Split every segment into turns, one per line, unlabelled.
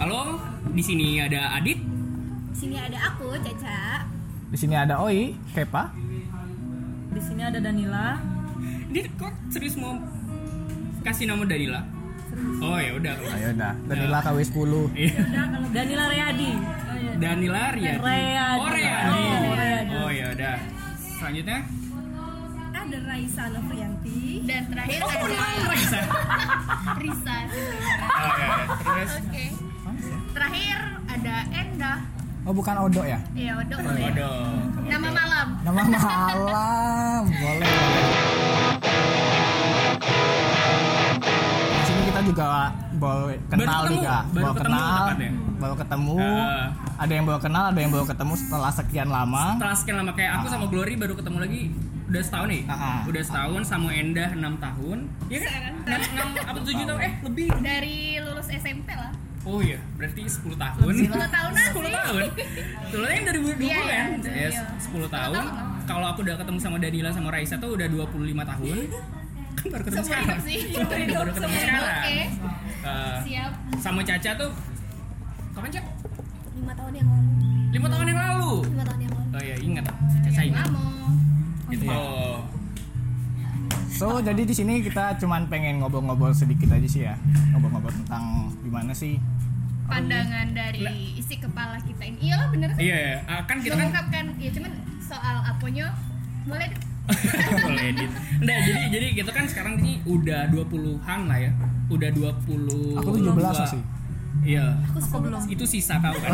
Halo, di sini ada Adit.
Di sini ada aku, Caca.
Di sini ada Oi, Kepa.
Di sini ada Danila.
Adit kok serius mau kasih nama Danila? Oh ya udah. Iya.
Ayo dah, Danila KW10.
Danila Reyadi.
Danila Ria.
Reyadi.
Oh iya. Riyadi. Oh ya udah. Selanjutnya
Ada Raisa Novrianti.
dan terakhir
Oh,
iya.
ada
Raisa.
Risa
Oh, ya, ya. Terus
oke terakhir ada Endah
Oh bukan Odo ya?
ya Odo
Oh,
boleh
waduh.
nama malam
Nama malam, boleh. Di sini kita juga baru kenal
ketemu,
juga,
baru
baru
ketemu
kenal,
tepatnya.
baru ketemu.
Eh.
Ada yang baru kenal, ada yang baru ketemu setelah sekian lama.
Setelah sekian lama kayak aku sama Glory baru ketemu lagi udah setahun nih.
Ah, ah.
Udah setahun sama Endah 6 tahun. Iya kan? 6, 6 apa 7 tahun eh lebih.
dari lulus SMP lah
Oh iya, berarti 10 tahun.
10 tahunan
10
sih.
tahun. Dulunya yang 2020
Iya, iya,
kan?
iya.
Yes, 10 tahun.
tahun. oh.
Kalau aku udah ketemu sama Danila sama Raisa tuh udah 25 tahun. Kan baru ketemu
Seumur
sekarang.
hidup sih.
Seumur hidup, baru ketemu sekarang.
oke
Eh,
siap
sama Caca tuh kapan Cak?
5 tahun yang lalu.
5 tahun yang lalu.
5 tahun yang lalu.
Oh iya, ingat. Caca ingat. Oh,
kamu
Gitu.
So jadi di sini kita cuman pengen ngobrol-ngobrol sedikit aja sih ya, ngobrol-ngobrol tentang gimana sih
pandangan dari isi kepala kita ini iyalah bener sih
Iya, iya. Ah, kan kita kan
mengungkapkan ya cuman soal aponya boleh
Boleh edit. Nggak, jadi jadi kita kan sekarang ini udah 20-an lah ya. Udah 20.
Aku 17 masih.
Iya.
Aku, aku belum.
Itu sisa kau kan.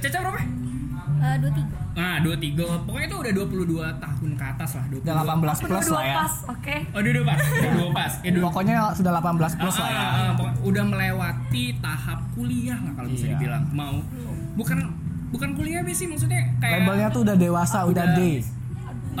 Caca berapa?
23.
Nah, 23. Pokoknya itu udah 22 tahun ke atas lah, 22.
udah 18 plus lah ya.
pas, oke.
Oh, udah pas. Udah dua pas. Ya, dua-
Pokoknya sudah 18 plus
Ah,
lah ya.
ah, ah, pokoknya udah melewati tahap kuliah lah kalau bisa
Iya.
dibilang. Mau bukan bukan kuliah sih maksudnya kayak
Labelnya tuh udah dewasa, udah
udah.
D.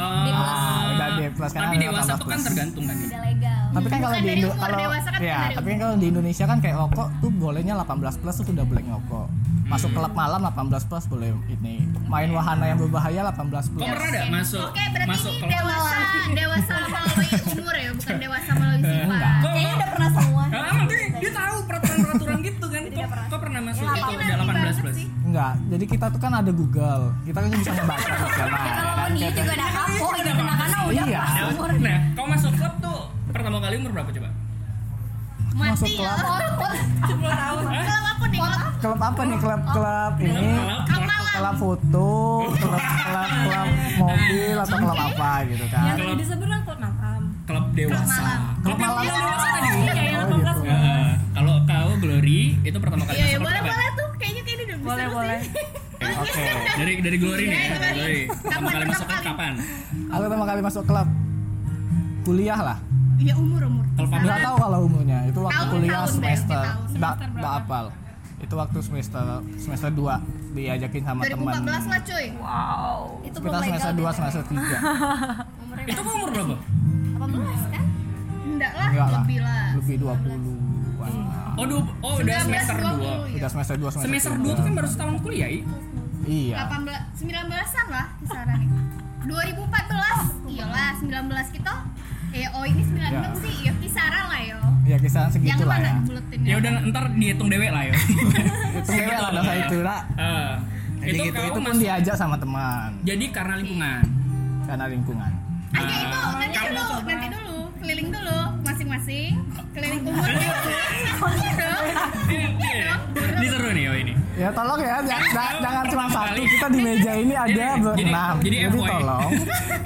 Ah,
Ah, udah D plus, karena
Tapi
udah
dewasa tuh
18
kan
plus.
tergantung kan.
Udah legal.
Tapi kan kalau
Bukan
di
dari
Indo
umur
kalau
dewasa kan
ya,
bukan dari
tapi kan kalau di Indonesia kan kayak rokok tuh bolehnya 18 plus tuh udah boleh ngerokok. Masuk klub malam 18 plus boleh ini. Main wahana yang berbahaya 18
Kok
Iya.
plus.
pernah ada masuk
oke berarti
masuk
ini
kelas?
dewasa dewasa melalui umur ya bukan dewasa melalui sifat
Kok-
Kayaknya
kok-
udah pernah semua.
Ah, emang dia, dia tahu peraturan-peraturan gitu kan. Kok, kok pernah masuk
Iya,
itu
iya,
udah 18 plus.
Enggak. Jadi kita tuh kan ada Google. Kita kan bisa ngebaca di sana.
Ya
ya
kalau mau
kan?
dia juga ada aku,
Oh,
ini anak-anak udah
Iya.
pas umur.
Nah, kau masuk klub tuh pertama kali umur berapa coba?
Masuk
mati ya
klub.
iya.
Hah?
kalau aku nih kalau
Klub apa nih? Klub-klub ini klub foto, klub klub klub mobil atau klub apa gitu kan.
Yang di seberang kok nakam.
Klub dewasa. Klub yang
malam.
yang dewasa tadi.
Iya, yang 18
gitu.
Eh, kalau kau Glory itu pertama kali
Iya, iya,
masuk
boleh
klub kan?
boleh tuh. Kayaknya kayaknya udah bisa
Boleh,
sih.
boleh.
Oke.
Dari dari Glory nih.
Iya, iya,
dari Glory.
Kapan
Pertama kali
pertama
masuk klub
kali?
kapan?
Aku pertama kali masuk klub kuliah lah.
Iya, umur umur.
Kalau kan, kamu
Nggak tahu kalau umurnya. Itu waktu
Tahun,
kuliah
tahun, berarti
semester.
tahun.
Nggak nggak apal. Itu waktu semester semester 2 diajakin sama teman.
2014 lah cuy.
Itu
Kita
belum legal.
semester 2
deh.
semester 3.
itu kau umur berapa?
18 kan?
Enggak lah,
Enggak lah.
lebih lah.
Lebih 20 an
Oh, dua, oh udah
19,
semester 2.
20, ya.
Udah semester 2 semester
Semester 2
tiga.
tuh kan baru setahun kuliah, ya?
Iya.
18 19-an lah kisaran. 2014. Iyalah, 19 kita. Eh, oh ini 96
Ya.
sih. Ya kisaran lah yo.
Ya kisaran
Jangan
segitulah
mana
ya.
buletin
Gitu Ya udah ntar dihitung dewe lah ya.
Itu kayak lah dasar itu lah.
Eh,
Jadi
itu
gitu,
kau
itu pun
masuk
diajak sama teman
jadi karena lingkungan.
karena lingkungan.
Aja itu
Ah.
nanti dulu, nanti dulu. Keliling dulu masing-masing. Keliling umur.
Ini- ini-
Iya.
Ini seru nih oh ini.
Ya tolong ya, jangan, jangan- jangan cuma satu. Kita di meja ini ada
Jadi-
berenam.
jadi
Jadi,
FYI.
tolong,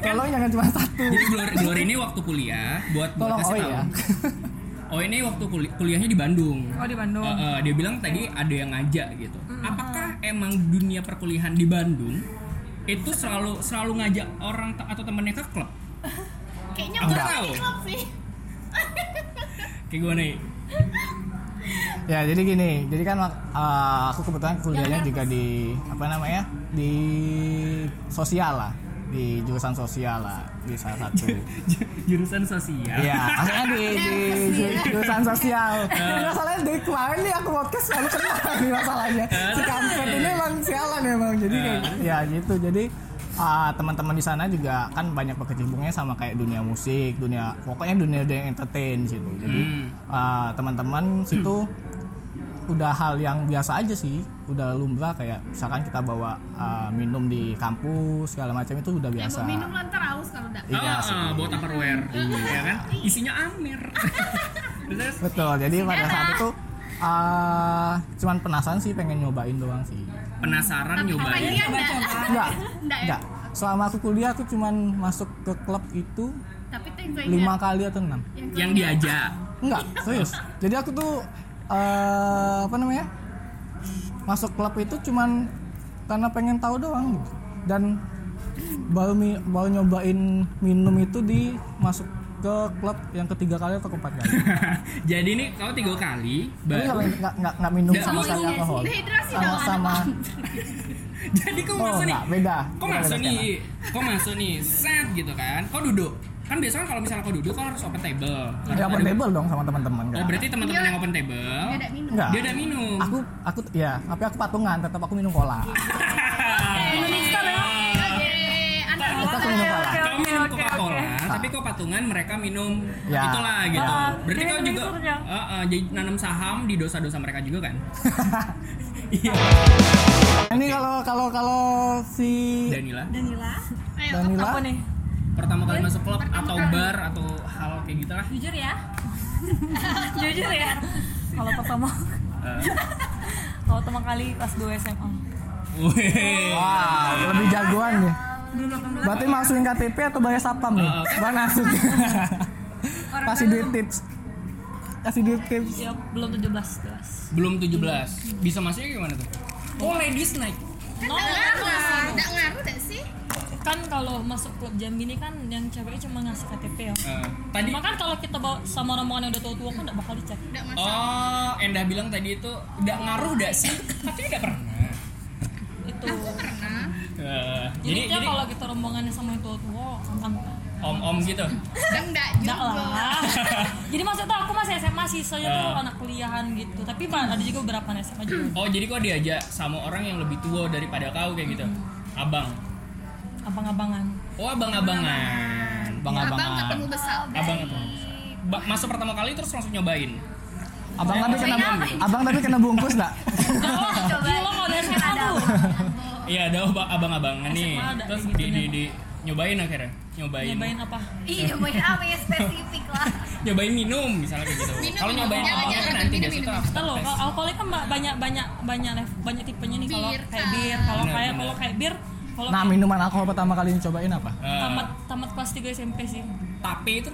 tolong jangan cuma satu.
Jadi Glory, Glory ini waktu kuliah buat buat
Tolong
kasih
Oi
tahu.
ya.
Oh ini waktu kuli- kuliahnya di Bandung.
Oh, di Bandung.
Eh, eh, dia bilang tadi ada yang ngajak gitu. Apakah emang dunia perkuliahan di Bandung itu selalu selalu ngajak orang te- atau temennya ke klub?
Kayaknya
Aku
bukan
tahu.
di klub sih.
Kayak gue nih.
Ya jadi gini, jadi kan eh, aku kebetulan kuliahnya juga di apa namanya di sosial lah, di jurusan sosial lah di salah satu.
Jurusan sosial.
Iya, maksudnya di, di, ju- jurusan sosial. Ini masalahnya dari kemarin nih aku podcast selalu kena nih masalahnya. Si kampret ini emang sialan emang. Jadi kayak, ya gitu. Jadi ah, teman-teman di sana juga kan banyak berkecimpungnya sama kayak dunia musik, dunia pokoknya dunia dunia yang entertain gitu. Jadi
Hmm.
ah, teman-teman situ udah hal yang biasa aja sih, udah lumrah kayak misalkan kita bawa ah, minum di kampus segala macam itu udah
Ya,
biasa.
buat minum lantar aus kalau enggak.
Iya
Ah,
sih.
ah, bawa tupperware ya kan isinya amir terus
Betul. Jadi pada saat
Iya.
itu ah, cuman penasaran sih pengen nyobain doang sih.
penasaran
Apa
nyobain
ini enggak?
Enggak.
Enggak ya?
Enggak. Selama aku kuliah aku cuman masuk ke klub itu
Tapi itu yang gue ingat.
lima kali atau enam.
yang diajak
Enggak, serius. Jadi aku tuh eh apa namanya? Masuk klub itu cuman karena pengen tahu doang gitu. Dan baru mi- baru nyobain minum itu di masuk ke klub yang ketiga kali atau keempat kali.
jadi ini kau tiga kali
Jadi nggak
baru
nggak- nggak nggak minum
Dan
sama sekali
minumnya sih.
alkohol.
Dehidrasi
Sama
dong,
sama.
jadi kau
Oh,
masuk nih
enggak, beda.
kau masuk
Beda, beda skena.
nih kau masuk nih set gitu kan kau duduk kan biasanya kalau misalnya kau duduk kau harus open table
Ya open table dong sama teman-teman kan.
oh berarti teman-teman
Iya.
yang open table
Enggak ada minum.
Enggak.
dia udah minum
Aku aku ya, tapi aku patungan tetap aku minum cola.
Minum instan ya.
Oke, anak
Tetap aku
kita.
minum cola.
kau minum
Oke, oke,
Coca-Cola,
oke.
tapi kau patungan mereka minum
Ya.
itulah gitu.
Ah,
Berarti
jadi
kau
minum
juga
surga.
Ah, ah, jadi nanam saham di dosa-dosa mereka juga kan? Iya.
Ini kalau kalau kalau si
Danila,
Danila,
Ayo,
Danila
apa nih?
pertama kali masuk klub atau bar atau hal kayak gitu lah.
Jujur ya. Jujur ya. Kalau pertama, Eh. kalau pertama kali kelas 2 SMA.
Wih.
Wah, lebih jagoan deh.
Belum 18.
Berarti masukin KTP atau bayar satpam nih?
Uh,
Bang masuk. Kasih duit tips. Kasih duit tips.
Ya, belum 17 kelas.
Belum 17. Bisa masuknya gimana tuh? Oh, ladies night.
No,
ngaruh, enggak ngaruh enggak sih?
kan kalau masuk klub Jambi ini kan yang ceweknya cuma ngasih KTP ya.
Eh, tadi
Cuma kan kalau kita bawa sama rombongan yang udah tua-tua kan nggak bakal dicek.
Enggak masalah.
Oh, Endah bilang tadi itu enggak ngaruh enggak sih? Katanya enggak pernah.
Itu.
Pernah.
Eh,
Jadi,
jadi
dia
jadi
kalau kita rombongannya sama yang tua-tua, aman.
om-om gitu.
Enggak
Enggak
juga.
lah. Jadi maksudnya aku masih SMA sisanya tuh
Ya.
anak kuliahan gitu. Tapi Pak, ada juga beberapa anak SMA juga.
Oh, jadi kok diajak sama orang yang lebih tua daripada kau kayak gitu. Abang.
Abang-abangan.
Oh abang-abangan,
Iya, Abang
abang-abangan,
ketemu besar.
abang ketemu. Ba- masuk pertama kali terus langsung nyobain.
Abang
Saya
tapi kena
ngapain?
Abang tapi kena bungkus enggak?
Oh,
Coba. Gila kalau di SMA tuh.
Iya ada ob- abang-abangan nih.
SMA ada
Terus
kayak
di,
gitu
di, di- nyobain akhirnya, nyobain,
Nyobain apa?
Ih, nyobain
Ah,
apa ya spesifik lah.
nyobain minum misalnya kayak gitu.
Minum,
Kalau
minum.
nyobain
Jangan,
alkohol kan
jangan,
nanti
minum,
biasanya itu
minum.
after
Kita loh,
test.
kalau alkoholnya kan ba- banyak banyak banyak lev- banyak tipenya nih kalau
Bir,
kayak
kan.
bir, kalau
Benar,
kayak
benar.
kalau kayak bir, kalau
Nah, minuman alkohol pertama kali dicobain apa?
Eh,
tamat tamat kelas 3 SMP sih.
tapi itu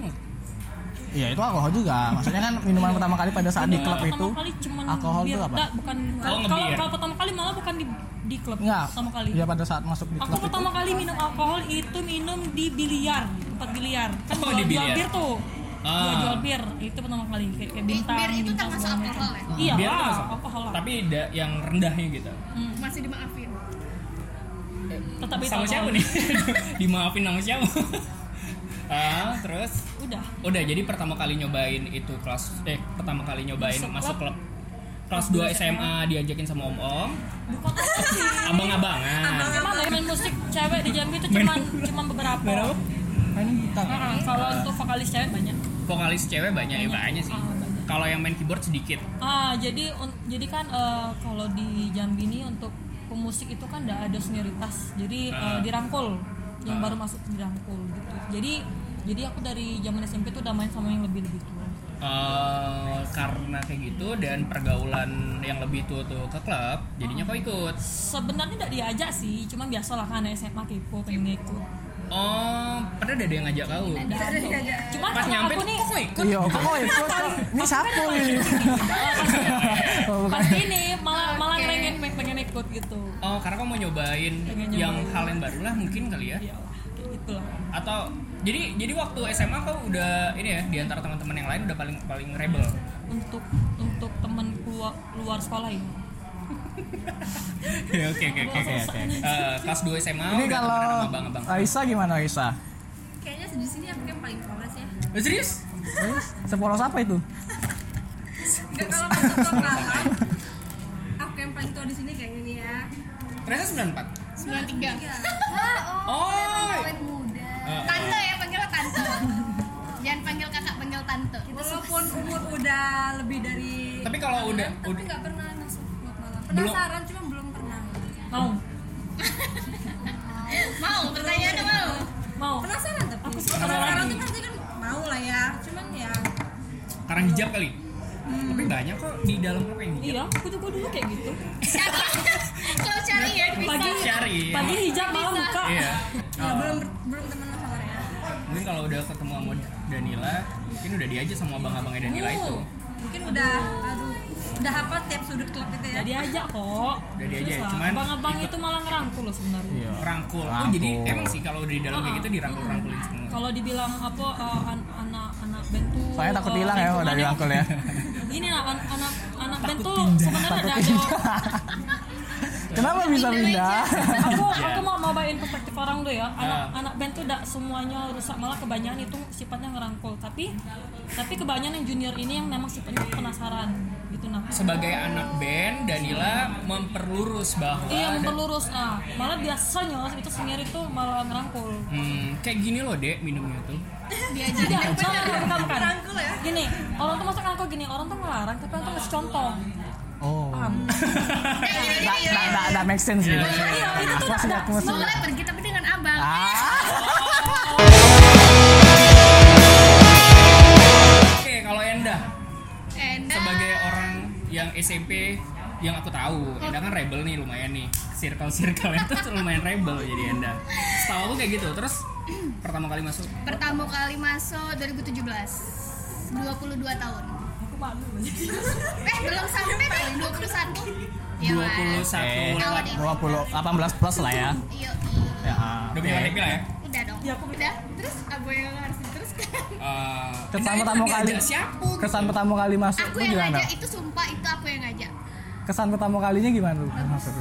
Iya, itu alkohol juga. Maksudnya kan minuman pertama kali pada saat di klub itu
pertama kali cuman
alkohol
bir,
itu apa?
enggak, bukan kan,
Oh,
kalau
ngebir.
kalau pertama kali malah bukan di di klub
Enggak.
pertama kali.
Iya, pada saat masuk di
Aku
klub itu.
pertama kali minum alkohol itu minum di biliar, tempat biliar. Kan
Oh,
jual,
di
jual
biliar.
bir tuh.
Ah.
Jual, jual bir itu pertama kali kayak, kayak bintang.
Bir itu
bintang
termasuk
segala
alkohol ya?
macam. Iya,
biar itu
lah,
masuk.
alkohol lah. Hmm,
Tapi da- yang rendahnya gitu.
Masih dimaafin.
Tetap itu
sama siapa
alkohol.
nih? Dimaafin sama siapa? ah, terus
Udah.
udah jadi pertama kali nyobain itu kelas eh pertama kali nyobain
Masuk
masuk
klub.
klub kelas 2 SMA diajakin sama om-om
Bukan apa sih.
abang-abangan
Emang dari main musik cewek di Jambi itu
Main
cuman cuman beberapa.
Main apa?
Mainin gitar.
Nah, kalau untuk vokalis cewek banyak.
vokalis cewek banyak ya banyak sih
Ah, banyak.
kalau yang main keyboard sedikit
Ah, jadi un- jadi kan eh, kalau di Jambi ini untuk pemusik itu kan tidak ada senioritas. Jadi eh,
Ah.
dirangkul yang
Ah.
baru masuk dirangkul gitu. Jadi jadi aku dari zaman SMP tuh udah main sama yang lebih-lebih tua.
Eh, karena kayak gitu dan pergaulan yang lebih tua tuh ke klub jadinya kau ikut
Sebenarnya tidak diajak sih, cuman biasalah kan anak SMA kepo pengen ikut.
oh padahal ada yang ngajak kau
Cuman
pas
karena
nyampe
aku
tuh,
nih
kok kau ikut
Iya, kok kok ikut? kok? Ini siapa ini? Oh, bukan.
Eh, pas ini malah malah
Oke.
pengen pengen ikut gitu.
oh karena kau mau nyobain
Pengen nyobain. Iya.
yang hal yang baru lah mungkin kali ya
Iyalah, kayak gitulah.
atau jadi jadi waktu SMA kau udah ini ya di antara teman-teman yang lain udah paling paling rebel
Untuk untuk temen keluar, luar sekolah ini.
Ya, oke oke oke
Oke, oke.
Eh, kelas 2 SMA
Ini
udah
kalau
temenan sama abang-abang
Aisa gimana Aisa?
Kayaknya di sini aku yang paling polos ya.
Eh, serius
Sepolos apa itu?
Enggak kalau kan? masuk ke kelas. Aku yang paling tua di sini kayaknya nih ya.
ternyata 94
93
Oh.
Kawin muda.
Eh,
Tante ya, panggil tante Jangan panggil kakak, panggil tante
Walaupun umur udah lebih dari
tapi kalau udah
Tapi
udah
nggak pernah masuk klub malam.
Belum.
Penasaran cuma belum pernah.
mau
Mau, pertanyaannya mau
mau
Penasaran tapi. Aku
suka
penasaran
lagi.
tuh pasti kan mau lah ya. Cuman ya
karang hijab kali. Tapi banyak kok di dalam apa yang hijab.
iya aku juga dulu kayak gitu
Cari Kalau cari ya, bisa
pagi
Cari. ya.
pagi hijab malam buka
Iya.
ya
Oh.
belum belum teman masalahnya.
Mungkin kalau udah ketemu sama Danila, mungkin udah diajak sama abang-abangnya Danila
Oh.
itu.
Uh, Mungkin udah aduh udah hafal tiap sudut klub itu ya.
Udah diajak kok
Udah diajak,
Susah.
cuman-
abang-abang itu malah ngerangkul loh sebenarnya
Iya.
Rangkul. Oh,
Rangkul.
jadi emang sih kalau di dalam kayak
Ah.
gitu dirangkul-rangkulin semua.
kalau dibilang apa eh, an- anak-anak band tuh
Saya takut
eh,
hilang ya
sentuhannya-
udah dirangkul ya.
gini lah an- anak anak band
Takut
tuh
pindah.
sebenarnya ada ada-
Kenapa bisa pindah?
aku
Ya.
aku mau mau bayin perspektif orang dulu ya anak
Ah.
anak band tuh tidak semuanya rusak malah kebanyakan itu sifatnya ngerangkul tapi tapi kebanyakan yang junior ini yang memang sifatnya penasaran gitu nah
Sebagai anak band, Danila memperlurus bahwa
Iya memperlurus ah malah biasanya itu senior itu malah ngerangkul
Hmm, kayak gini loh, Dek, minumnya tuh.
tidak jangan bukan bukan
Rangkul ya.
kan? gini orang tuh masuk aku gini orang tuh ngelarang tapi orang tuh ngasih contoh
Oh.
paham
Enggak enggak enggak enggak make sense gitu.
iya itu tuh
Masuk
tidak
aku masuk.
Boleh pergi tapi dengan abang
Ah.
Oke, kalau Enda,
Enda
sebagai orang yang SMP yang aku tahu, Enda kan rebel nih lumayan nih. Circle-circle itu lumayan rebel jadi Enda. Setahu aku kayak gitu. Terus pertama kali masuk
Pertama kali masuk 2017 22 tahun
aku malu
Eh, belum sampai deh, 21 Iya,
21
Mas.
Eh,
lewat.
20 18 plus lah ya.
Iya,
Ya.
Udah punya KTP lah ya.
udah dong
Ya, aku
Udah, terus apa yang harus diteruskan?
Eh,
Kesan
Enda itu
pertama
diajak
kali.
Siapa?
Kesan pertama kali masuk
Aku
tuh
yang
gimana?
ngajak, itu sumpah itu aku yang ngajak
Kesan pertama kalinya gimana tuh? Masuk.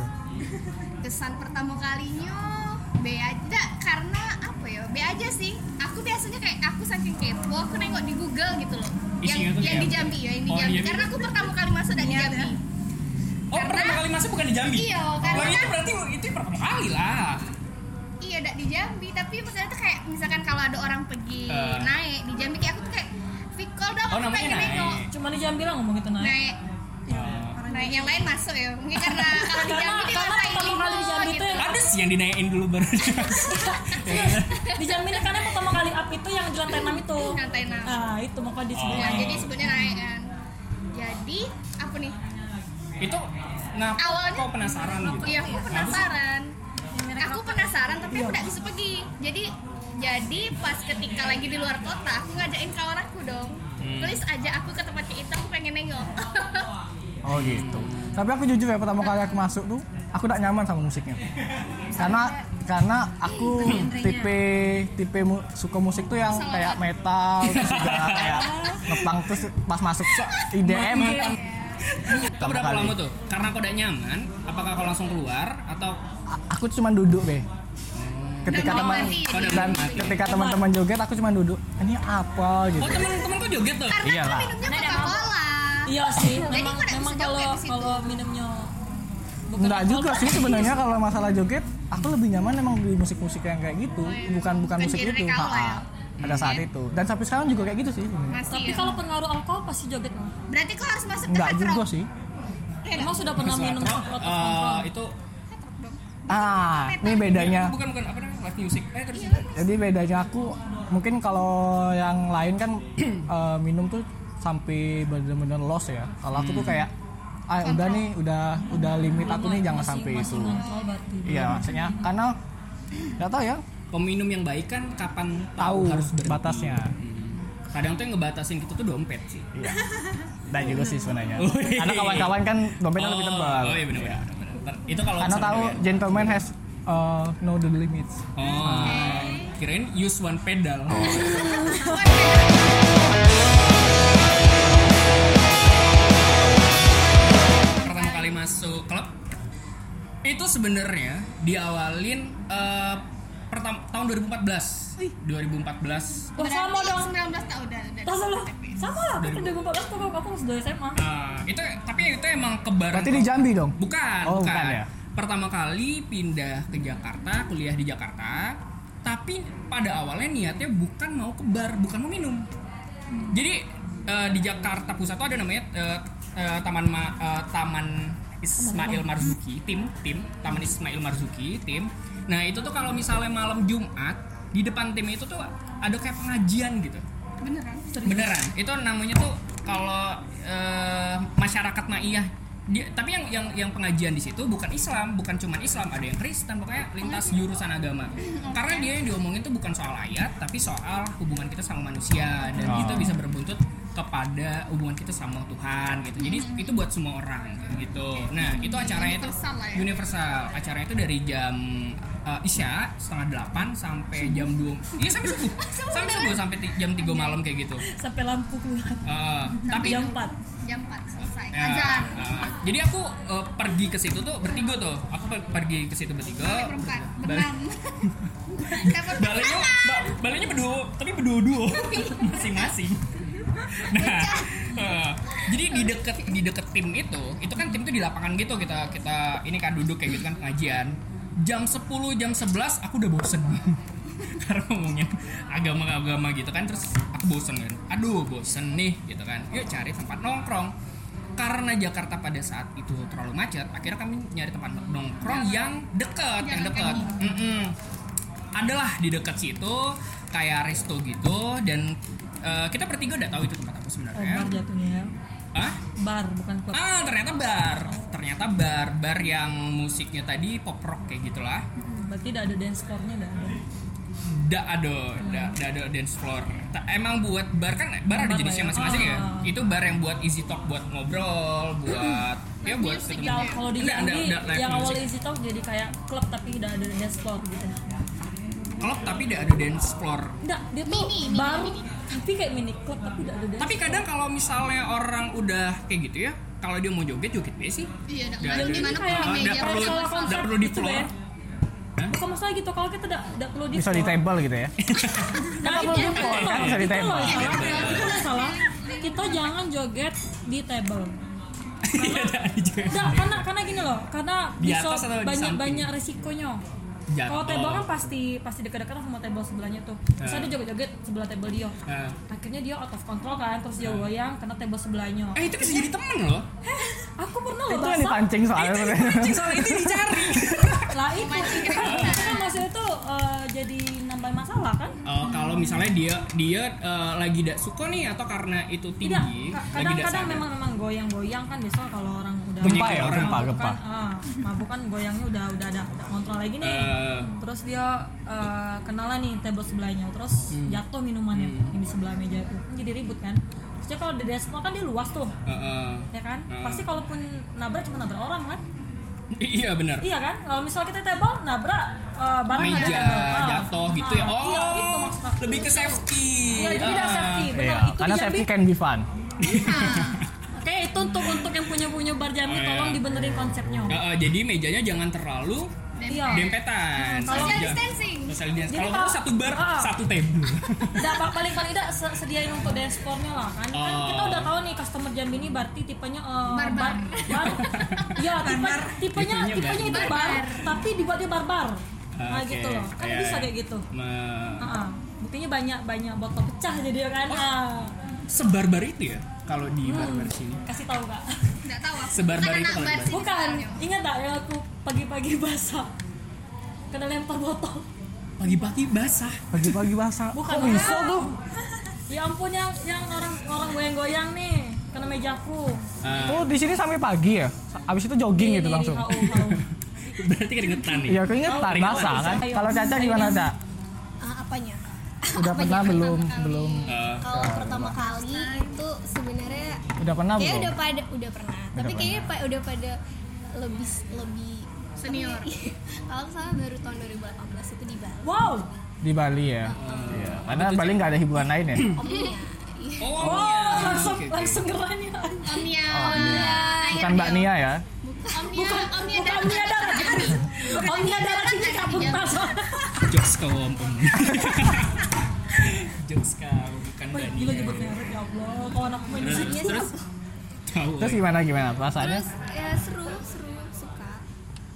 kesan pertama kalinya B aja karena apa ya B aja sih aku biasanya kayak aku saking kepo aku nengok di Google gitu loh
Isinya
yang
tuh
yang
kayak
di
apa?
Jambi ya yang di
Oh,
Jambi
iya.
karena aku pertama kali masuk dari Jambi
Oh, pertama kali masuk bukan di Jambi.
Iya,
Lah,
karena-
itu berarti itu pertama kali lah.
iya dak di Jambi tapi maksudnya tuh kayak misalkan kalau ada orang pergi
Eh.
naik di Jambi kayak aku tuh kayak Vikol dong
Oh,
aku
namanya
pengen
naik.
nengok
cuma di jam bilang ngomong gitu naik
naik Iya. naik yang lain masuk ya mungkin karena kalau di
karena
Jambi dia gitu.
karena
ngapain
pertama kali di ya. jam itu yang
Oh. Ada sih yang dinaikin dulu baru.
di jam ini karena pertama kali up itu yang di lantai 6 itu
nyantai nah
ah itu maka
Oh.
di
Ya,
sebelah
jadi sebutnya naik kan jadi apa nih
itu nah
Awalnya-
kok penasaran gitu.
Iya, aku penasaran. Aku penasaran tapi aku nggak bisa pergi. Jadi jadi pas ketika lagi di luar kota, aku ngajakin kawan aku dong.
Hmm.
Please ajak aku ke tempat kayak itu, aku pengen nengok.
Oh gitu. Tapi aku jujur ya pertama kali aku masuk tuh aku tidak nyaman sama musiknya. Karena karena aku tipe tipe mu- suka musik tuh yang kayak metal terus juga kayak ngepang terus pas masuk se- IDM.
Kau
Pertama
berapa
kali.
lama tuh? Karena kau udah nyaman, apakah kau langsung keluar atau
A- Aku cuma duduk deh.
Dan
Ketika teman
mengamati.
dan ketika teman-teman joget aku cuma duduk. Ini apa gitu.
Oh teman-teman kau joget tuh?
Karena
Iyalah.
aku minumnya
Nah, dan
Coca-Cola.
iya sih
Jadi
memang
aku nggak
memang
bisa
kalau
joget di situ.
kalau minumnya bukan
Enggak
alkohol,
juga sih sebenarnya
gitu.
kalau masalah joget, aku lebih nyaman emang di musik-musik yang kayak gitu,
Oh, iya.
bukan bukan
Bukan
musik
genre
itu.
kau lah ya.
Ha-ha. Pada saat
Iya.
itu. Dan sampai sekarang juga kayak gitu sih. sebenarnya.
Masih.
tapi
ya.
kalau pengaruh alkohol pasti joget mah
berarti kau harus masuk ke
Enggak
hard
juga
rock.
sih.
Iya,
emang sudah pernah minum
Setelah-
alkohol atau
eh,
alkohol?
itu Iya,
Ah, ini bedanya.
bukan bukan apa namanya live music. Eh
Iya.
terus
Jadi bedanya aku mungkin kalau yang lain kan eh, minum tuh sampai benar-benar loss ya. Kalau aku
Hmm.
tuh kayak ah udah nih, udah udah limit aku nih jangan
Masih-
sampai
masih
itu.
ngontrol berarti.
Iya, maksudnya karena nggak tahu ya,
peminum yang baik kan kapan
tahu
harus berhenti.
batasnya.
Hmm. Kadang tuh yang ngebatasin gitu tuh dompet sih.
Iya. Dan juga sih sebenarnya.
Wih.
Karena kawan-kawan kan dompetnya lebih tebal.
Oh iya benar benar. benar. Itu kalau
Karena
sama
tahu
cewek.
gentleman has uh, know the limits.
Oh, kirain use one pedal. Pertama kali masuk klub itu sebenarnya diawalin eh, pertam- tahun 2014. 2014.
Wah, sama dong
19 tahun udah. udah.
Tahu lah sama lah aku 2014 tuh aku aku sudah SMA
Eh, Nah, itu tapi itu emang kebaran.
Berarti di Jambi dong.
Bukan,
Oh,
bukan.
bukan ya?
pertama kali pindah ke Jakarta kuliah di Jakarta tapi pada awalnya niatnya bukan mau ke bar bukan mau minum
Hmm.
jadi eh, di Jakarta pusat tuh ada namanya eh, eh, Taman Ma- eh, Taman Ismail Marzuki tim tim Taman Ismail Marzuki tim nah itu tuh kalau misalnya malam Jumat di depan tim itu tuh ada kayak pengajian gitu
beneran
beneran itu namanya tuh kalau eh, masyarakat maiyah dia, tapi yang yang yang pengajian di situ bukan Islam bukan cuman Islam ada yang Kristen pokoknya lintas jurusan agama karena dia yang diomongin tuh bukan soal ayat tapi soal hubungan kita sama manusia dan
Oh.
itu bisa berbuntut kepada hubungan kita sama Tuhan gitu jadi itu buat semua orang gitu nah itu acaranya tuh
Mm-hmm. Universal lah ya.
universal acaranya itu dari jam eh, isya setengah delapan sampai jam dua iya sampai subuh sampai subuh sampai ti- jam tiga malam kayak gitu
sampai lampu keluar
Uh, tapi
jam 4
jam 4 selesai
Ya,
azan
uh, jadi aku uh, pergi ke situ tuh bertiga tuh. Aku per- pergi ke situ bertiga.
perempat
Balik-
berenang dapat
Baliknya, ba- baliknya berdua, tapi berdua-dua masing-masing. Nah, eh, jadi di deket di deket tim itu, itu kan tim itu di lapangan gitu kita kita ini kan duduk kayak gitu kan pengajian. Jam 10, jam 11 aku udah bosen. Karena ngomongnya agama-agama gitu kan terus aku bosen kan. Aduh, bosen nih gitu kan. Yuk cari tempat nongkrong. Karena Jakarta pada saat itu terlalu macet, akhirnya kami nyari tempat nongkrong yang deket, yang
Jalan
deket.
kaki.
Mm-mm adalah di dekat situ kayak resto gitu dan eh, kita bertiga udah tahu itu tempat apa
oh, bar
sebenarnya.
jatuhnya ya
Hah?
bar bukan klub
Ah, ternyata bar. Ternyata bar, bar yang musiknya tadi pop rock kayak gitulah.
berarti tidak ada dance floor-nya tidak ada
Da ada,
Hmm.
da, da ada dance floor. Ta- emang buat bar kan bar ada
Bar
jenisnya
ya?
masing-masing ya.
Ah.
Itu bar yang buat easy talk buat ngobrol, buat ya buat ketemu.
Ya, kalau di
Nggak,
Jambi
nggak, nggak live
yang awal
music.
easy talk jadi kayak klub tapi tidak ada dance floor gitu
Klub tapi tidak ada dance floor.
Enggak, dia tuh
Mini, mini,
bar
mini.
tapi kayak mini klub tapi tidak ada dance
Tapi kadang kalau misalnya orang udah kayak gitu ya, kalau dia mau joget joget be sih.
iya dak-
Nggak ada.
gimana
Kayak-
kalau
Ah, nggak
meja
perlu
kosong?
Salah konsep
nggak perlu di
gitu
floor.
ya. Bukan masalah gitu kalau kita tidak tidak perlu di
bisa di
floor.
table gitu ya
Nah, itu
belum
loh,
kan bisa di
itu
table.
loh yang salah. Itu loh yang salah. Kita jangan joget di table.
Iya, ada aja.
Enggak, karena karena gini loh, karena
Di
di
atas
shop
atau di
banyak
samping?
banyak resikonya.
Jatuh.
Kalau table kan pasti pasti dekat-dekat sama table sebelahnya tuh. Terus
Eh.
ada joget-joget sebelah table dia.
Eh.
Akhirnya dia out of control kan, terus dia goyang kena table sebelahnya.
Eh itu bisa jadi temen loh.
Aku pernah loh
itu yang
basah.
dipancing soalnya
Anjing soal itu dicari.
Lah itu itu kan maksudnya tuh eh, jadi nambah masalah kan?
Eh, kalau misalnya dia dia eh, lagi tidak suka nih atau karena itu
Tidak,
tinggi,
ka-
lagi tidak
kadang-kadang
sadar.
memang memang goyang-goyang kan biasanya kalau orang udah
Bunyi
gempa ya
orang
gempa
mabuk
gempa
kan, ah, mabuk kan goyangnya udah udah ada udah kontrol lagi nih.
Eh.
Terus dia eh, kenalan nih table sebelahnya, terus
Hmm.
jatuh minumannya yang di sebelah meja itu, Kan jadi ribut kan. Terusnya kalau di dance floor kan dia luas tuh,
Eh, eh.
ya kan?
Ah.
Pasti kalaupun nabrak cuma nabrak orang kan?
I- iya benar.
Iya kan? Kalau misal kita table nabrak eh, barang nggak
Meja
ada table. Ah.
jatuh gitu ya.
Ah,
Oh,
iya, itu maksud aku.
lebih ke safety.
Iya, itu tidak
Ah.
safety. Benar,
Iya,
itu
karena
di Jambi.
safety can be fun
Oke, itu untuk untuk yang punya punya bar Jambi
Oh, iya.
tolong dibenerin konsepnya.
Eh, eh, jadi mejanya jangan terlalu
Iya.
dempetan.
Social
Jangan-
distancing.
Social distancing.
Jadi
Kalau
kalau-
perlu satu bar,
Ah.
satu table.
Nggak, Pak, paling paling tidak se- sediain untuk dance floor-nya lah kan. Kan
Oh.
kita udah tahu nih customer Jambi ini berarti tipenya eh,
Barbar.
bar. Iya, tipe, tipenya
Tipenya
tipenya itu
barbar.
bar, tapi dibuatnya barbar. Nah,
Oke.
gitu loh. Kan
Iya,
bisa
iya.
kayak gitu.
Me-
Heeh. Buktinya banyak banyak botol pecah jadi kan. Ah.
sebarbar itu ya kalau di barbar
Hmm.
sini
Kasih tahu Kak.
nggak tahu aku
Sebarbar
Bukan
itu
anak
kalau
bar
di
sih
Bukan.
misalnya.
Ingat tak yang aku pagi-pagi basah. Kena lempar botol.
pagi-pagi basah
pagi-pagi basah
Bukan
Kok bisa
orang.
tuh
Ya ampun yang yang orang orang goyang-goyang nih kena mejaku. Ah.
oh di sini sampai pagi ya abis itu jogging
Iya,
gitu langsung
berarti keringetan nih
ya keingetan
Keringetan.
basah kan kalau caca gimana caca
Ah, apanya?
udah pernah belum belum
Eh,
Kalau pertama kali itu sebenarnya
udah pernah
kayak
belum
udah pada udah pernah, tapi
pernah.
kayaknya pa- udah pada lebih lebih Iya.
Senior.
kalau nggak salah baru tahun 2018 itu di Bali.
Wow.
di Bali ya Iya, karena Bali nggak ada hiburan lain ya
Omnya. Iya.
oh
Wow,
iya.
langsung
Oke, oke.
langsung ngerani. anjing.
Om Nia
Oh, bukan Mbak Nia ya
Om Nia Om Nia
Bukan
dalam
dia darah jadi. Oh, dia darah jadi kabut tas.
jokes kau om Om. jokes Kan kau bukan
Wah,
Dani
Gila nyebut merek ya Allah. Kalau anak main di
terus
sini
terus tahu eh,
terus gimana gimana perasaannya
Terus ya seru seru suka.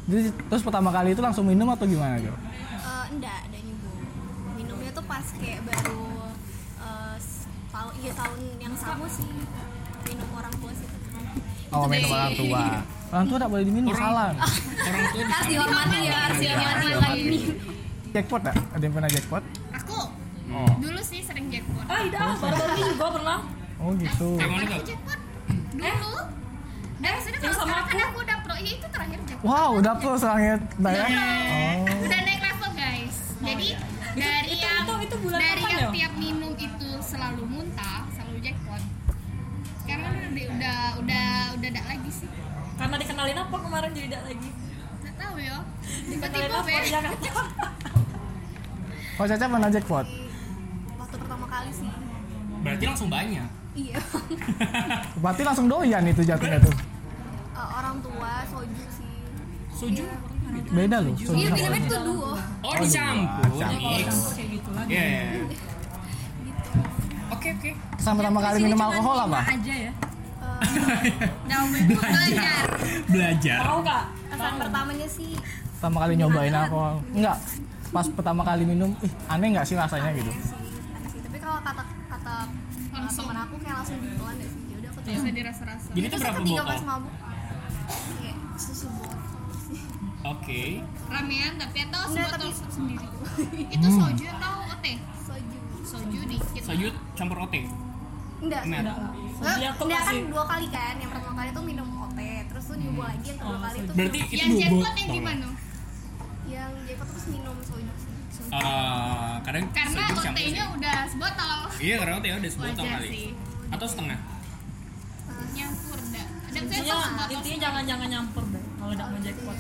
Jadi terus pertama kali itu langsung minum atau gimana Jo?
Eh, enggak ada nyebut minumnya tuh pas kayak baru eh, tahun iya tahun yang sama sih minum orang tua sih
Oh
Itu
minum
deh.
orang tua. Orang tua tidak boleh diminum
Orang-
salah. Iya.
orang tua
harus dihormati ya harus dihormati yang lain ini
Jackpot tak? Ada yang pernah jackpot?
Aku
Oh.
dulu sih sering jackpot.
ah tidak baru-baru ini juga pernah
Oh gitu.
Kayak mana
Aku
tuh?
jackpot
Eh?
dulu. Dan maksudnya
yang
kalau
sama
sekarang kan
aku.
aku udah pro, ya itu terakhir jackpot.
Wow, udah pro serangnya Daya. Nah, Oh.
Udah naik level guys. Jadi dari
Oh, iya. itu-
yang
itu- itu bulan
dari
kapan
yang
ya?
tiap minum itu selalu muntah, selalu jackpot. Sekarang kan udah udah udah udah enggak lagi sih.
karena dikenalin apa kemarin jadi tidak lagi
Enggak tahu ya.
dikenalin
Tiba-tiba
apa
be.
ya kan
Oh Caca pernah jackpot?
waktu pertama kali sih
Berarti langsung banyak.
iya
Berarti langsung doyan itu jatuhnya tuh.
Eh, orang tua soju sih
Soju.
Beda loh. soju
iya
sama
minumnya
ini.
tuh duo
Oh, dicampur.
dicampur.
Mix.
kayak gitu lagi
Iya. iya. Oke, oke.
Sama pertama kali minum alkohol apa?
aja ya
Eh,
Belajar. Belajar.
tahu nggak
kesan pertamanya sih
Pertama kali nyobain alkohol? Enggak. Pas pertama kali minum, ih aneh nggak sih rasanya gitu?
aneh sih aneh sih tapi kalau kata kata uh, teman aku kayak langsung ditelan deh sih ya udah aku telan
Bisa dirasa-rasa.
Jadi itu
Terus
berapa
ketika
botol?
pas mabuk kayak susu botol
Oke.
Ramean tapi atau
Enggak,
sebotol
tapi-
sendiri. Itu soju atau ote?
soju
Soju dikit.
Hmm. Soju campur ote.
enggak
Enggak.
enggak
Soju aku
enggak kan
masih
dua kali kan yang pertama kali tuh minum ote terus tuh nyoba lagi yang kedua
Oh,
kali
soju.
tuh
Berarti itu
Yang
dua
jackpot yang
botol. ya?
gimana?
yang jackpot terus minum soju sih. Soju.
Eh, kadang
Karena
soju campur
ote-nya
sih.
udah sebotol.
Iya, karena ote udah sebotol
Wajar
kali.
sih.
Atau setengah.
Nyampur enggak. Ada
intinya intinya jangan jangan nyampur deh kalau tidak mau jackpot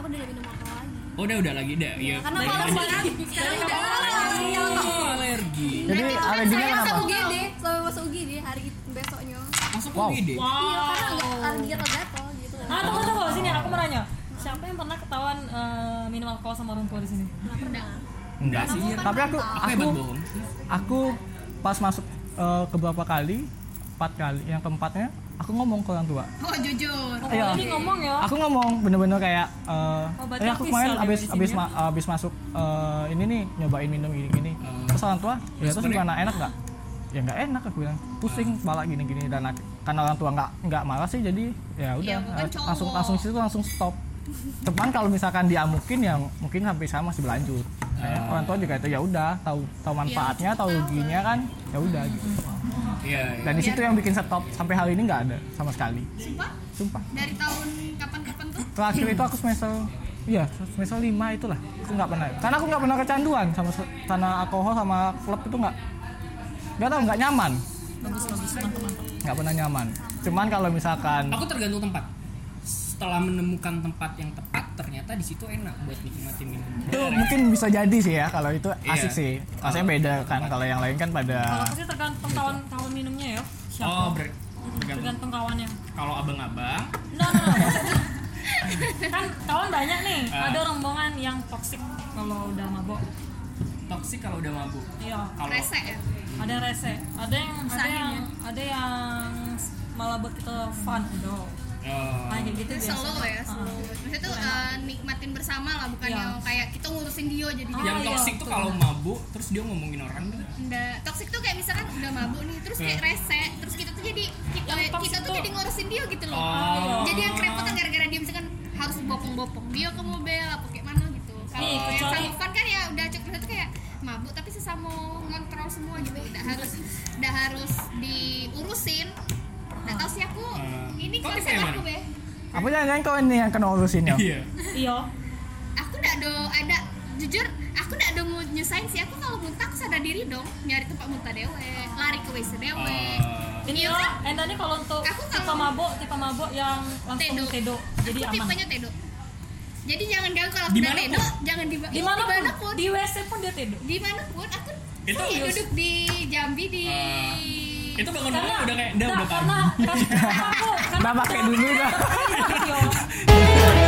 aku udah minum alkohol lagi
Oh, udah udah lagi dah. Iya.
karena
Lagi-
kalau
kan
lagi-
sekarang sekarang udah alergi
Oh, alergi.
Jadi alerginya
saya masuk
kenapa?
UGD sampai masuk UGD hari itu- besoknya
Masuk
Wow.
UGD.
iya karena
wow
agak alergi atau gatel gitu
ah tunggu tunggu sini aku mau nanya siapa yang pernah ketahuan eh, minum alkohol sama orang tua di sini
nggak pernah
Enggak sih. iya.
Tapi aku
Aku
aku
hebat bohong.
aku pas masuk eh, ke beberapa kali, empat kali, yang keempatnya aku ngomong ke orang tua.
Oh, jujur.
Oh,
Iya.
ini ngomong ya
Aku ngomong bener-bener kayak eh,
Oh, berarti
eh, aku
official
kemarin
ya
abis
dari
abis
sini
ma- abis masuk eh, ini nih nyobain minum gini-gini.
Hmm.
Terus orang tua, ya
Terus
terus Hmm.
balik.
gimana enak nggak? Ya nggak enak aku bilang, pusing kepala gini-gini dan ak- karena orang tua nggak nggak marah sih jadi ya udah
Iya, bukan
eh, langsung
cowok.
langsung situ langsung stop. Cuman kalau misalkan diamukin ya mungkin sampai saya masih berlanjut. Kayak
Ah.
Orang tua juga itu ya udah tahu tahu manfaatnya, tahu ruginya kan, ya udah gitu.
Iya. iya.
Dan di situ yang bikin stop sampai hari ini nggak ada sama sekali.
Sumpah
Sumpah.
dari tahun kapan-kapan tuh?
terakhir itu aku semester iya semester lima itulah aku nggak pernah karena aku nggak pernah kecanduan sama karena alkohol sama klub itu nggak nggak tahu nggak nyaman
bagus bagus mantap mantap
nggak pernah nyaman cuman kalau misalkan
Aku tergantung tempat. Setelah menemukan tempat yang tepat, ternyata di situ enak buat nikmatin minum. Oh,
itu mungkin bisa jadi sih ya kalau itu
Iya.
asik sih rasanya beda kan kalau yang lain kan
kalau
pada
aku sih tergantung kawan kawan minumnya ya
Oh,
siapa
ber- tergantung.
tergantung kawannya Nah,
Kalau abang-abang,
no, no, no. kan kawan banyak nih
Ah.
ada rombongan yang toksik kalau udah mabok
toksik kalau udah mabuk.
iya
Kalau
Rese ya.
ada yang rese ada yang ada
Misahin
yang ada yang malah buat kita fun gitu
eh,
nah kayak gitu
Itu
biasa
slow ya,
Ah.
slow. Maksudnya tuh eh, nikmatin bersama lah, bukan
Iya.
yang kayak kita ngurusin dia jadi
Ah.
yang
iya,
toksik tuh
betul.
kalau mabuk terus dia ngomongin orang tuh.
enggak. Toxic tuh kayak misalkan udah mabuk nih, terus kayak rese, terus kita tuh jadi kita,
Yang toxic
kita tuh
tuh-
jadi ngurusin dia gitu loh.
Oh.
Jadi yang kerepotan gara-gara dia misalkan harus bopong-bopong dia ke mobil apa kayak mana gitu.
Oh,
Kalau
Nih,
yang
kecuali-
sama fun kan ya udah cukup itu kayak mabuk tapi sesama ngontrol semua gitu. Udah harus udah harus diurusin. Nggak tahu sih aku
Ah.
ini
Kok
konsep
kayak
aku ya.
mana?
be.
apa jangan kau ini yang kena urusin ya
Iya.
iya
aku ndak ada ada jujur aku ndak ada mau nyusahin sih aku kalau muntah aku sadar diri dong nyari tempat muntah dewe lari ke WC dewe
Eh,
ini
Iya
yo
kan?
entah kalau untuk
Aku nggak
tipe
mau.
mabok tipe mabok yang langsung
Tedo.
tedo, jadi
aku
aman
tipenya tedo jadi jangan ganggu kalau
Di
sudah
mana
tedo
pun?
jangan di
di mana pun
pun
di wc pun dia tedo
di mana pun aku
Itu-
aku ya duduk di Jambi di
Ah.
itu bangun-bangun udah kan? kayak udah
Nggak,
udah
karena
paham.
karena aku karena
Nggak pakai dulu, dah.
Iya.